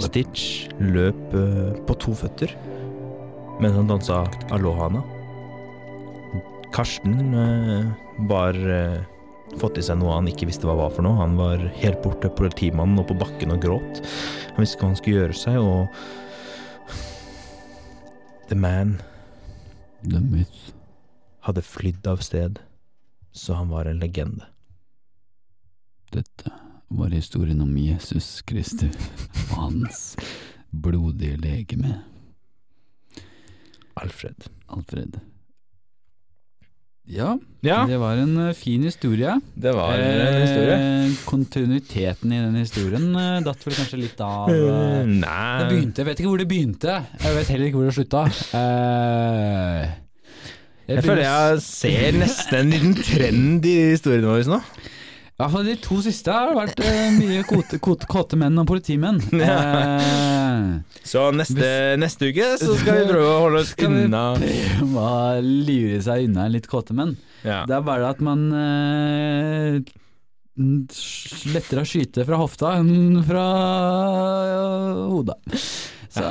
Stitch løp eh, på to føtter mens han dansa alohana. Karsten eh, var eh, fått i seg noe han ikke visste hva var for noe. Han var helt borte på politimannen og på bakken og gråt. Han visste ikke hva han skulle gjøre seg, og The man
The myth.
hadde flydd av sted, så han var en legende.
Dette var historien om Jesus Kristus og hans blodige legeme.
Alfred.
Alfred. Ja,
Ja,
det var en eh, fin historie.
det
Eh, kontinuiteten i den historien eh, datt vel kanskje litt av eh, Det
Mm. Nei
begynte, Jeg vet ikke hvor det begynte. Jeg vet heller ikke hvor det slutta. Eh,
Jeg føler jeg ser nesten en liten trend i historien vår nå.
I hvert fall de to siste har det vært eh, mye kote, kote, kåte menn og politimenn. Eh,
Så neste, neste uke så skal vi prøve å holde oss
vi-
unna
Hva lurer seg unna litt kåte menn?
ja.
Det er bare det at man eh, lettere å skyte fra hofta enn fra eh, hodet. Så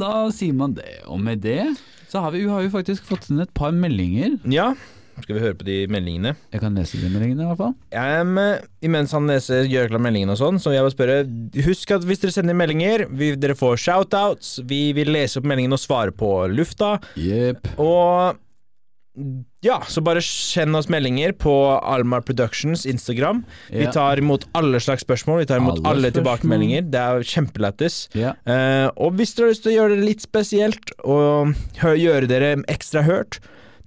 da sier man det. Og med det så har vi, har vi faktisk fått inn et par meldinger.
ja. Skal vi høre på de meldingene?
Jeg kan lese de meldingene i hvert fall.
Jeg, eh, imens han leser gjør klar meldingene og sånn, så jeg vil spørre Husk at hvis dere sender meldinger, vi, dere får shoutouts, vi vil lese opp meldingene og svare på lufta.
Jepp.
Og ja, så bare send oss meldinger på Almar Productions Instagram. Vi
Ja.
tar imot alle slags spørsmål, vi tar
Alle
imot alle,
spørsmål.
tilbakemeldinger. Det er kjempelættis.
Ja.
Eh, og hvis dere har lyst til å gjøre det litt spesielt, og hø gjøre dere ekstra hørt,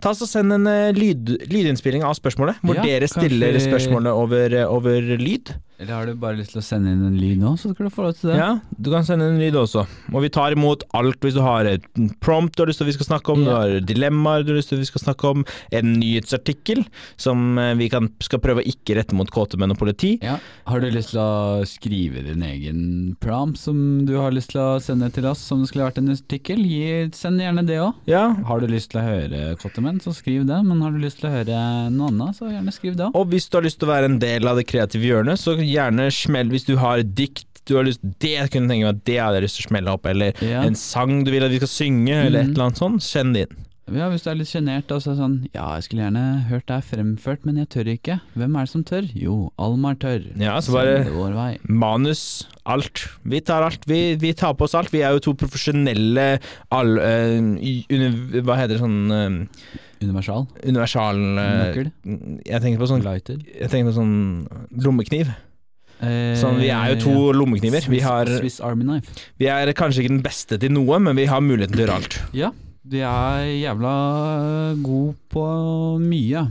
ta så send en eh, lyd lydinnspilling av spørsmålet, hvor
Ja,
dere
kanskje-
stiller spørsmålene over, eh, over lyd.
Eller har du bare lyst til å sende inn en lyd nå, så skal du få lov til det.
Ja, du kan sende en lyd også. Og vi tar imot alt hvis du har et prompt du har lyst til at vi skal snakke om,
Ja.
du har dilemmaer du har lyst til at vi skal snakke om, en nyhetsartikkel som eh, vi kan, skal prøve å ikke rette mot kåte menn og politi.
Ja. Har du lyst til å skrive din egen prom som du har lyst til å sende til oss, som det skulle vært en artikkel? Gi, send gjerne det òg.
Ja.
Har du lyst til å høre Kottemenn, så skriv det. Men har du lyst til å høre noe annet, så gjerne skriv det òg.
Og hvis du har lyst til å være en del av det kreative hjørnet, så gjerne smell hvis du har et dikt du har lyst Det kunne jeg tenke meg at det hadde jeg lyst til å smelle opp, eller
Ja. Mm.
en sang du vil at vi skal synge, eller et eller annet sånt. Send det inn.
Ja, hvis du er litt sjenert og så er det sånn Ja, jeg skulle gjerne hørt deg fremført, men jeg tør ikke. Hvem er det som tør? Jo, Almar tør.
Ja, så bare-
Send det vår vei.
Manus, alt. Vi tar alt. Vi, vi tar på oss alt. Vi er jo to profesjonelle all, eh, i- uni, Hva heter det sånn eh,
Universal.
Universal eh,
Nøkkel.
Jeg tenker på sånn
Lighter.
jeg tenker på sånn lommekniv.
Eh,
Sånn, vi er jo to
ja.
lommekniver. Vi, har,
Swiss Army Knife.
vi er kanskje ikke den beste til noe, men vi har muligheten til å gjøre alt.
Ja, vi er jævla god på mye,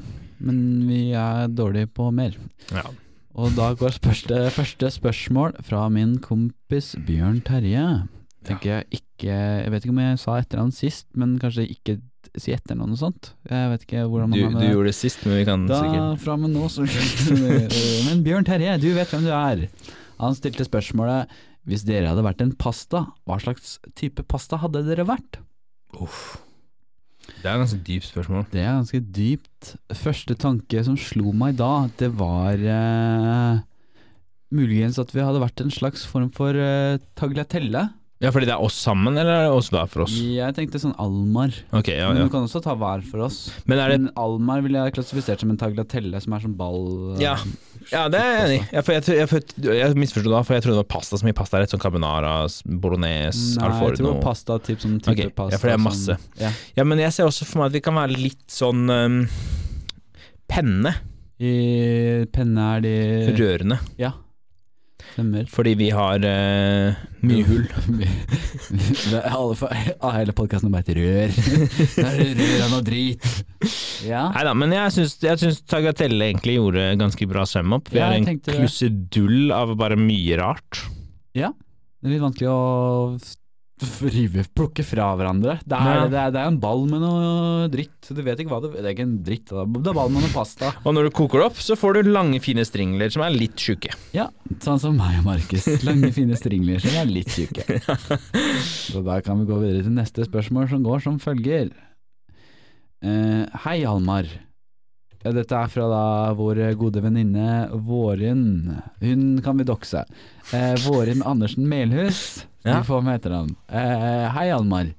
men vi er dårlige på mer.
Ja.
Og da går spørste, første spørsmål fra min kompis Bjørn Terje. Tenker jeg ikke Jeg vet ikke om jeg sa etter han sist, men kanskje ikke si etter noe sånt. Jeg vet ikke hvordan
Du,
man er
du
med det.
gjorde det sist, men vi kan
Da
sikkert
fra med nå så Men Bjørn Terje, du vet hvem du er. Han stilte spørsmålet Hvis dere hadde vært en pasta, hva slags type pasta hadde dere vært?
Det er et ganske dypt spørsmål.
Det er ganske dypt. Første tanke som slo meg da, det var eh, muligens at vi hadde vært en slags form for eh, tagliatelle.
Ja, fordi det er oss sammen, eller er det oss hver for oss?
Jeg tenkte sånn Almar,
Ok, ja,
men
ja.
du kan også ta hver for oss.
Men er det
Men Almar ville jeg klassifisert som en tagliatelle, som er som ball eh.
Ja. Ja, det er jeg enig i. Ja, for Jeg, tro- jeg, for- jeg misforsto da, for jeg trodde det var pasta som i pasta. Rett sånn carbonara, s- bolognese,
Nei, jeg
alforno
tror pasta typ, som type
Ok, ja,
pasta.
for det er
som-
masse.
ja.
Ja, men jeg ser også for meg at vi kan være litt sånn um, penne.
I penne er de
Rørende.
Ja. Stemmer.
Fordi vi har eh, mye hull.
Det er alle for- ah, hele podkasten er bare et rør. Det er det rør av noe drit. Ja.
Nei da, men jeg syns, jeg syns Tagatelle egentlig gjorde ganske bra sum-up. Vi
Ja,
har
jeg
en
tenkte det.
klusedull av bare mye rart.
ja. Det er litt vanskelig å f- f- rive, plukke fra hverandre. Det er,
Ja.
det, er, det er en ball med noe dritt. Du vet ikke hva det Det er ikke en dritt, det er det er ball med noe pasta.
Og når du koker det opp, så får du lange, fine stringler som er litt tjukke.
Ja, sånn som meg og Markus. Lange, fine stringler som er litt tjukke. Så da kan vi gå videre til neste spørsmål, som går som følger. Eh, hei, Almar. Ja, Dette er fra da vår gode venninne Våren. Hun kan vi dokse. Eh, Våren Andersen Melhus.
Ja.
Vi får med etternavn. Eh, hei, Almar.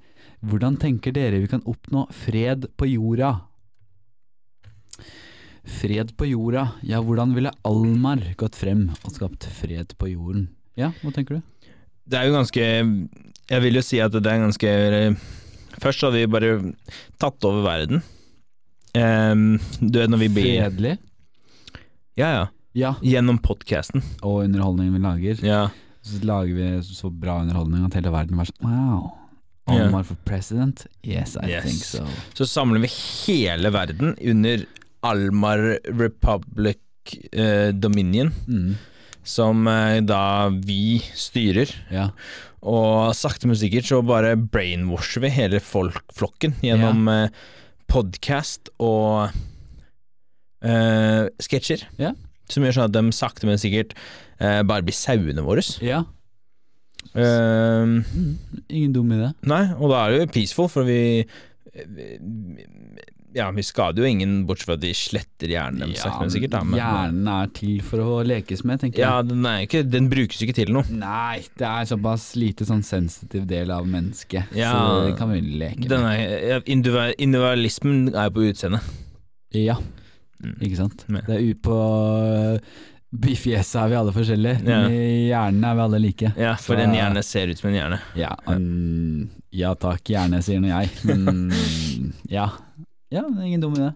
Hvordan tenker dere vi kan oppnå fred på jorda? Fred på jorda. Ja, hvordan ville Almar gått frem og skapt fred på jorden? Ja, hva tenker du?
Det er jo ganske Jeg vil jo si at det er ganske Først hadde vi bare tatt over verden. Ehm, du vet når vi blir
Fredelig?
Ja, ja.
Ja,
Gjennom podkasten.
og underholdningen vi lager.
Ja.
Så lager vi så bra underholdning at hele verden var sånn wow. Almar for president? Yes, I
Yes.
think so.
Så samler vi hele verden under Almar Republic eh, Dominion,
Mm,
som eh, da vi styrer.
ja.
Og sakte, men sikkert så bare brainwasher vi hele folk, flokken gjennom eh, podcast og eh, sketsjer.
Ja.
Som gjør sånn at de sakte, men sikkert eh, bare blir sauene våre.
ja.
Eh,
Ingen dum idé.
nei, og da er det jo peaceful, for vi vi- ja, vi skader jo ingen, bortsett fra at de sletter hjernen dem, sakte, men sikkert. Da, men,
hjernen er til for å lekes med, tenker
ja,
jeg.
den, er ikke, den brukes ikke til noe.
Nei, det er såpass lite sånn sensitiv del av mennesket,
Ja.
så det kan vi leke med.
Den er, individu- individualismen er jo på utseendet.
Ja,
Mm.
ikke sant?
Ja.
Det er ut på I fjeset er vi alle forskjellige,
Ja.
men i hjernen er vi alle like.
Ja, for
Så-
en hjerne ser ut som en hjerne.
Ja, mm, ja takk, gjerne, sier nå jeg, men ja. Ja, det er ingen dum idé.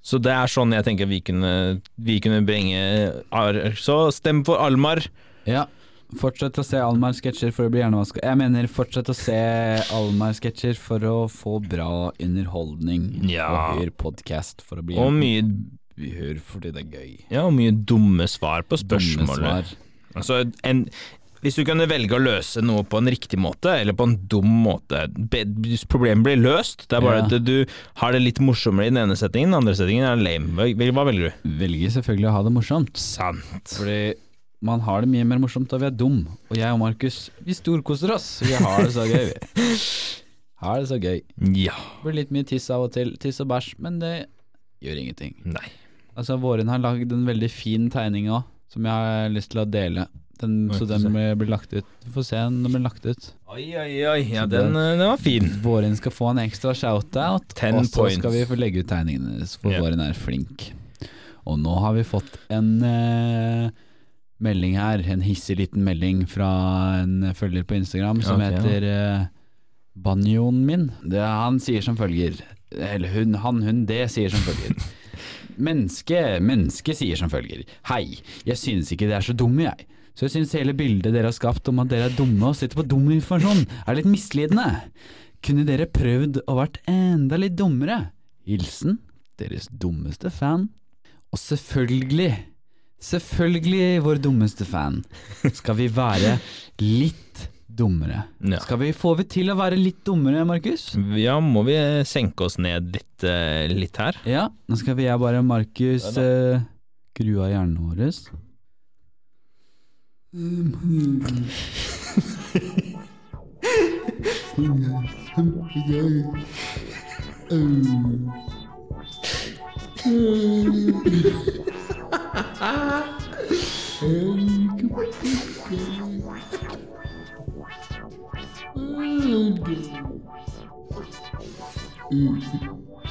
Så det er sånn jeg tenker vi kunne, vi kunne bringe eh, Ar- Så stem for Almar.
Ja. Fortsett å se Almar-sketsjer for å bli hjernevaska. Jeg mener, fortsett å se Almar-sketsjer for å få bra underholdning.
Ja.
Og hør podkast for å bli
Og mye,
Hør fordi det er gøy.
ja, og mye dumme svar på
Dumme
spørsmålet. Altså, en, hvis du kunne velge å løse noe på en riktig måte, eller på en dum måte be- Problemet blir løst. Det er bare
Ja.
at du har det litt morsommere i den ene settingen, den andre settingen er lame. Hva- Hva velger du?
Velger selvfølgelig å ha det morsomt.
Sant.
Fordi man har det mye mer morsomt da vi er dum Og jeg og Markus, vi storkoser oss Vi har det så gøy vi. Har det så gøy
Ja.
Blir litt mye tiss av og til, tiss og bæsj Men det gjør ingenting
Nei.
Altså Våren har lagd en veldig fin tegning også Som jeg har lyst til å dele den,
Oi,
Så
få
den
se.
blir blir lagt ut Du får se den, den blir lagt ut
Oi, oi, oi. Ja,
Så det-
den, eh, den var fin.
Våren skal få en ekstra shoutout
Ten
Og så
points.
skal vi få legge ut tegningene hennes, For
Ja.
Våren er flink Og nå har vi fått en eh, melding her En hissig liten melding fra en følger på Instagram Som
Ja, ok, ja.
heter eh, Banjoen min det, Han sier som følger Eller hun, han, hun, det sier som følger Menneske, menneske sier som følger Hei, jeg synes ikke det er så dumme jeg Så jeg synes hele bildet dere har skapt Om at dere er dumme og sitter på dum informasjon Er litt misledende Kunne dere prøvd å vært enda litt dummere? Hilsen, deres dummeste fan Og selvfølgelig Selvfølgelig vår dummeste fan Skal vi være litt dummere
Ja.
Skal vi få vi til å være litt dummere, Markus?
Ja, må vi senke oss ned litt, eh, litt her?
Ja, nå skal vi jeg bare Markus eh, Gru av hjernen vår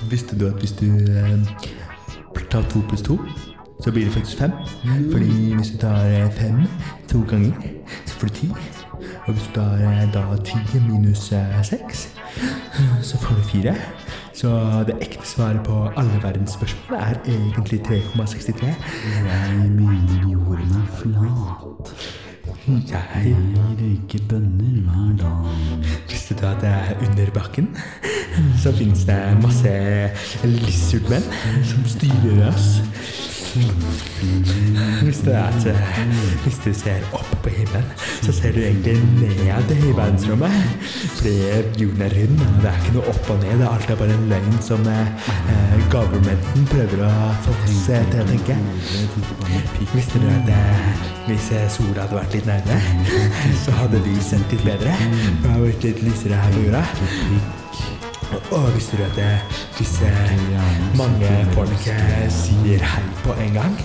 Visste du at hvis du eh, tar to pluss to, så blir det faktisk fem? Fordi hvis du tar eh, fem to ganger, så får du ti. Og hvis du tar eh, da ti minus eh, seks, så får du fire. Så det ekte svaret på alle verdens spørsmål er egentlig 3,63.
Jeg mener jorden er flat
Mm. Jeg
røyker bønner hver dag
Visste du at det er under bakken? Så finnes det masse lissultmenn som styrer oss. Hvis du, er, så, hvis du ser opp på himmelen, så ser du egentlig ned i verdensrommet. Fordi jorden er rund, og det er ikke noe opp og ned. Det er alltid bare en løgn som eh, eh, governmenten prøver å få oss eh, til å tenke. Visste du at eh, hvis eh, sola hadde vært litt nærmere, så hadde vi sett litt bedre? Det har vært litt lysere her på jorda. Og visste du at eh, hvis eh, mange folk eh, sier hei på en gang,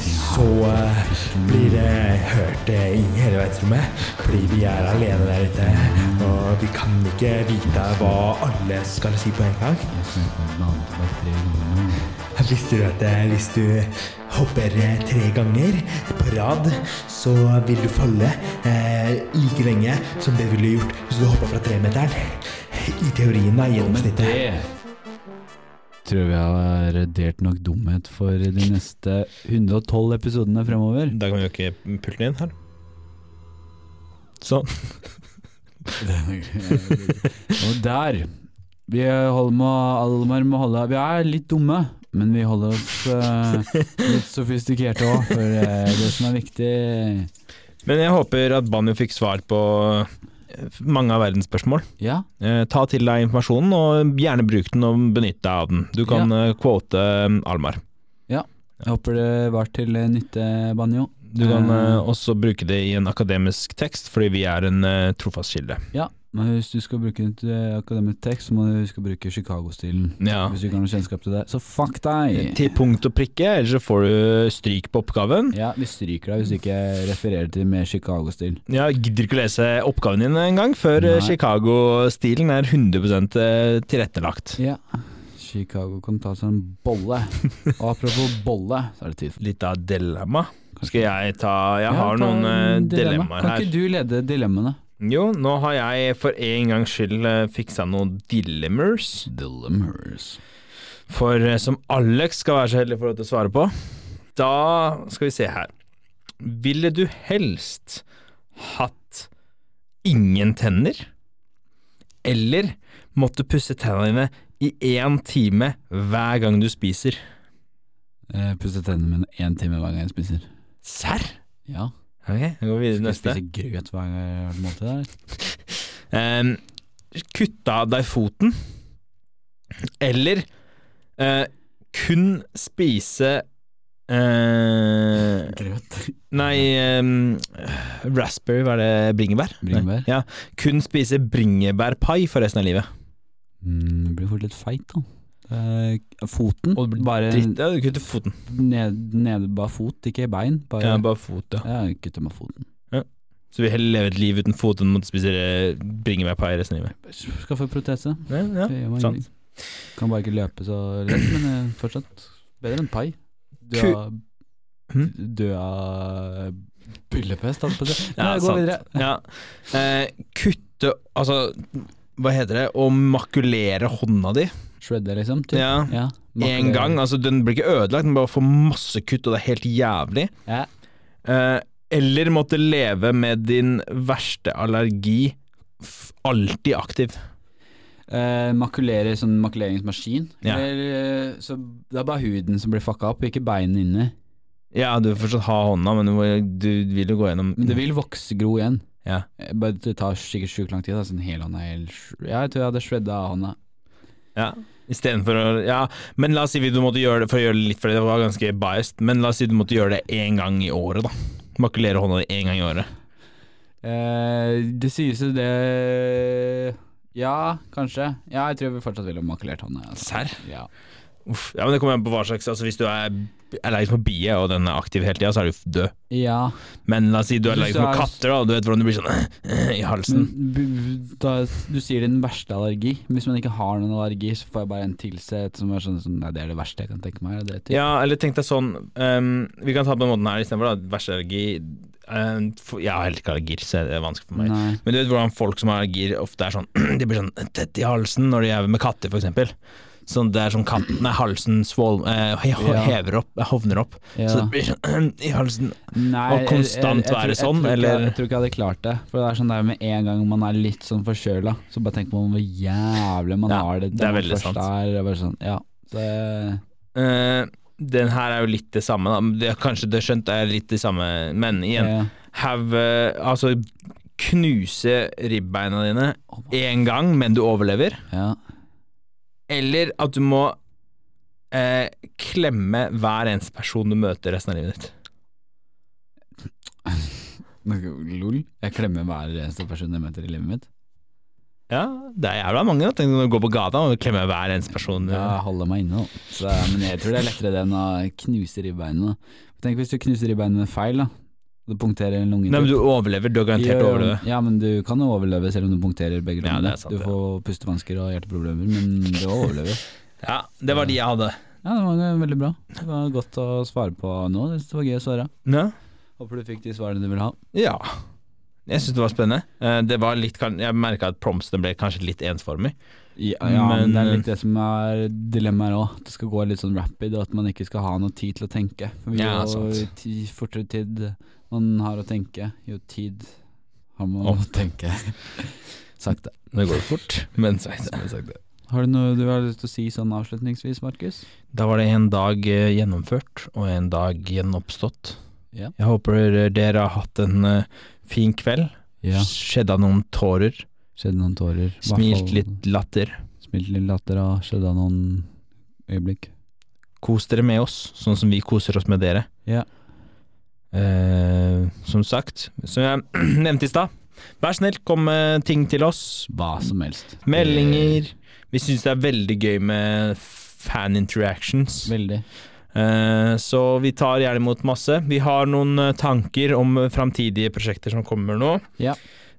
så eh, blir det hørt eh, i hele verdensrommet. Fordi vi er alene der ute, og vi kan ikke vite hva alle skal si på en gang. Visste du at eh, hvis du hopper eh, tre ganger på rad, så vil du falle eh, like lenge som det ville gjort hvis du hoppa fra tremeteren? I teorien, da. Gjennomsnittet.
Det tror jeg vi har radert nok dumhet for de neste 112 episodene fremover.
Da kan vi øke pulten igjen her. Sånn.
Og der Vi holder med Almar må holde Vi er litt dumme, men vi holder oss eh, litt sofistikerte òg, for eh, det som er viktig
Men jeg håper at Banjo fikk svar på eh, mange av verdens spørsmål.
Ja,
Eh, ta til deg informasjonen, og gjerne bruk den og benytt deg av den. Du kan eh, quote eh, Almar.
jeg håper det var til eh, nytte, Banjo.
Du kan eh,
Eh,
også bruke det i en akademisk tekst, fordi vi er en eh, trofast kilde.
Ja, men hvis du skal bruke et eh, akademisk tekst, så må du huske å bruke Chicago-stilen.
Ja.
Hvis du ikke har noe kjennskap til det, så fuck deg!
Til punkt og prikke, ellers så får du eh, stryk på oppgaven.
Ja, vi stryker deg hvis du ikke refererer til mer Chicago-stil.
Jeg gidder ikke å lese oppgaven din engang før eh,
Nei.
Chicago-stilen er 100 tilrettelagt.
Ja. Chicago kan ta seg en bolle. Og apropos bolle, så er det tid for
Litt av dilemma. Skal jeg ta Jeg
Ja,
har
ta
noen eh,
en dilemma.
dilemmaer
Kan
her.
ikke du lede dilemmaene?
Jo, nå har jeg for en gangs skyld eh, fiksa noen dilemmas.
Dilemmas.
For eh, som Alex skal være så heldig å få lov til å svare på. Da skal vi se her. Ville du helst hatt ingen tenner? Eller måtte pusse tennene dine i én time hver gang du spiser?
Jeg pusser Eh, tennene mine én time hver gang jeg spiser.
Serr?
Ja.
Ok, jeg går videre til
Jeg
neste. Eh.
spiser grøt hver gang jeg har måltid der.
Um, kutte av deg foten, eller eh, kun spise eh,
Grøt.
Nei, ehm, raspberry, var det bringebær?
Bringebær.
Nei, Ja, kun spise bringebærpai for resten av livet.
Mm, du blir fort litt feit, da. Eh, foten.
Og det blir
bare
dritt, ja, du kutter foten.
ned, ned, bare fot, ikke bein. Bare,
Ja, bare fot, ja.
ja, kutte med foten.
Så vi heller leve et liv uten fot enn å måtte spise eh, bringebærpai resten av livet.
Skaffe protese.
Ja,
Det
ja.
gjør man
sant.
ingenting. Kan bare ikke løpe så lett, men eh, fortsatt bedre enn pai. Dø
Ku-
av
Hm?
Dø av byllepest, holdt på å si.
Ja,
Nei, gå
sant.
videre.
Ja. Eh, kutte Altså, hva heter det? Å makulere hånda di.
Shredder, liksom? Typ.
Ja.
Ja.
Én gang. Altså, den blir ikke ødelagt, den bare får masse kutt, og det er helt jævlig.
Ja.
Eh, eller måtte leve med din verste allergi f alltid aktiv.
Eh, makulere sånn makuleringsmaskin.
Ja.
Eller, eh, så det er bare huden som blir fucka opp, ikke beinene inni.
Ja, du vil fortsatt ha hånda, men du, må- du vil jo gå gjennom
Men det vil vokse gro igjen.
Mm. Ja.
Eh, Bare Det tar sikkert sjukt lang tid. Da. Sånn hele hånda, hele, ja, jeg tror jeg hadde shredda av hånda.
ja. Istedenfor å Ja, men la oss si du måtte gjøre det for å gjøre det litt, for det var ganske biased, men la oss si du måtte gjøre det én gang i året, da. Makulere hånda di én gang i året.
Eh, det sies jo det Ja, kanskje. Ja, jeg tror vi fortsatt ville makulert hånda. Altså.
Serr?
Ja.
Uff. Ja, men det kommer an på hva slags Altså, hvis du er allergisk mot bier, og den er aktiv hele tida, så er du død.
ja.
Men la oss si du er
Hvis
allergisk
du
mot
er-
katter, da, og du vet hvordan du blir sånn i halsen.
Men b- da, du sier din verste allergi. Hvis man ikke har noen allergi, så får jeg bare en tilsett som er sånn, sånn Nei, det er det verste jeg kan tenke meg. Det til.
Ja, eller tenk deg sånn ehm, Vi kan ta på den måten her istedenfor, da. Verste allergi ehm, for- Jeg har heller ikke allergier, så det er vanskelig for meg.
Nei.
Men du vet hvordan folk som har allergier ofte er sånn De blir sånn tett i halsen når de er med katter, for eksempel. Sånn det er sånn katten Nei, halsen svol, eh, he-
Ja.
hever opp, eh, hovner opp.
Ja.
Så det blir sånn i halsen.
Nei,
og konstant
jeg- jeg- jeg
være
tror-
sånn,
jeg, tror ikke-
eller?
Jeg tror ikke jeg hadde klart det. For det er sånn der med en gang man er litt sånn forkjøla, så bare tenker man hvor jævlig man
Ja,
har det.
det er
når man
veldig
først
sant.
Er, og bare sånn, ja. Så,
Eh, den her er jo litt det samme, da. Det, er kanskje det skjønt er litt det samme, men igjen
Ja.
have, eh, Altså, knuse ribbeina dine én gang, men du overlever.
Ja.
Eller at du må eh, klemme hver eneste person du møter resten av livet ditt.
Lol. Jeg klemmer hver eneste person jeg møter i livet mitt.
Ja, det er jævla mange. da. Tenk når du går på gata og klemmer hver eneste person.
Jeg holder meg inne, da. Så, men jeg tror det er lettere det enn å knuse ribbeinet. da. Tenk hvis du knuser ribbeinet med feil, da. Du punkterer en lunge.
Nei, men du overlever. Du har garantert å overleve.
Ja, men du kan jo overleve selv om du punkterer begge
Ja,
lungene.
det er sant,
du
ja.
får pustevansker og hjerteproblemer, men du overlever.
Ja, det var de jeg hadde.
Ja, det var veldig bra. Det var godt å svare på nå. Det var gøy å svare.
Ja.
Håper du fikk de svarene du ville ha.
Ja. Jeg syns det var spennende. Eh, Det var litt, kan- jeg merka at prompsene ble kanskje litt ensformig.
Ja, ja men, eh,
Men-
det er litt det som er dilemmaet òg. Det skal gå litt sånn rapid, og at man ikke skal ha noe tid til å tenke. For jo
Ja, sant.
ti, fortere tid man har å tenke, jo tid har man å tenke. Sakte.
Det går fort, men sakte.
Har du noe du har lyst til å si sånn avslutningsvis, Markus?
Da var det en dag eh, gjennomført, og en dag gjenoppstått.
Ja.
Jeg håper dere har hatt en eh, fin kveld. Skjedda noen tårer.
Skjedde noen tårer. i hvert
Smilt
fall
litt latter.
Smilt litt latter og skjedde noen øyeblikk.
Kos dere med oss, sånn som vi koser oss med dere.
Ja.
Eh, som sagt, som jeg nevnte i stad, vær snill, kom med ting til oss.
Hva som helst. Eh.
Meldinger. Vi syns det er veldig gøy med fan interactions.
Veldig.
Eh, Så vi tar gjerne imot masse. Vi har noen eh, tanker om eh, framtidige prosjekter som kommer nå.
Ja.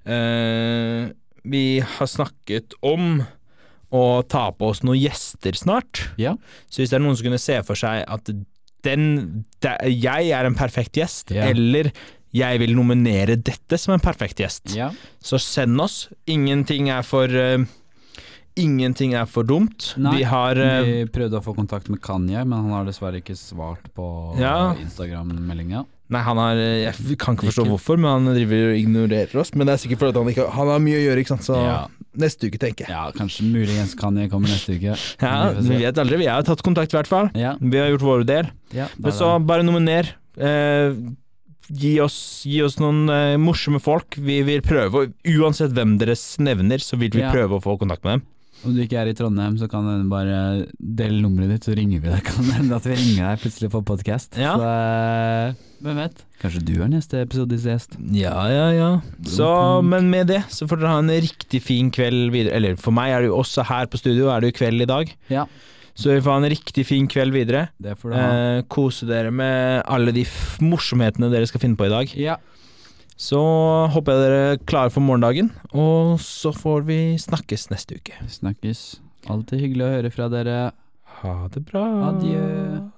Eh, Vi har snakket om å ta på oss noen gjester snart.
Ja.
Så hvis det er noen som kunne se for seg at den, de, jeg er en perfekt gjest,
Ja.
eller jeg vil nominere dette som en perfekt gjest,
Ja.
så send oss. Ingenting er for eh, Ingenting er for dumt.
Nei,
vi har eh,
Vi prøvde å få kontakt med Kanye, men han har dessverre ikke svart på
Ja.
Instagram-meldinga.
Nei, han har Jeg f- kan ikke forstå
Ikke-
hvorfor, men han driver og ignorerer oss. Men det er sikkert fordi at han ikke Han har mye å gjøre, ikke sant. Så
Ja.
neste uke, tenker jeg.
Ja, kanskje muligens Kanye kommer neste uke.
Ja,
Vi får
Vi
se.
vet aldri. Vi har tatt kontakt, i hvert fall.
ja,
Vi har gjort vår del.
ja,
Men så bare nominer. Eh, gi, oss, gi oss noen eh, morsomme folk. Vi vil prøve, å- uansett hvem dere nevner, så vil vi
Ja.
prøve å få kontakt med dem.
Om du ikke er i Trondheim, så kan du bare dele nummeret ditt, så ringer vi deg. Kan det hende at vi ringer deg plutselig på podkast?
Ja.
Hvem vet? Kanskje du er neste episodes gjest.
Ja, ja, ja. Så, men med det så får dere ha en riktig fin kveld videre. Eller for meg er det jo også her på studio, er det jo kveld i dag.
Ja.
Så vi får ha en riktig fin kveld videre.
Det får du ha.
Eh, kose dere med alle de f morsomhetene dere skal finne på i dag.
ja.
Så håper jeg dere er klare for morgendagen, og så får vi snakkes neste uke.
Snakkes. Alltid hyggelig å høre fra dere.
Ha det bra.
Adjø.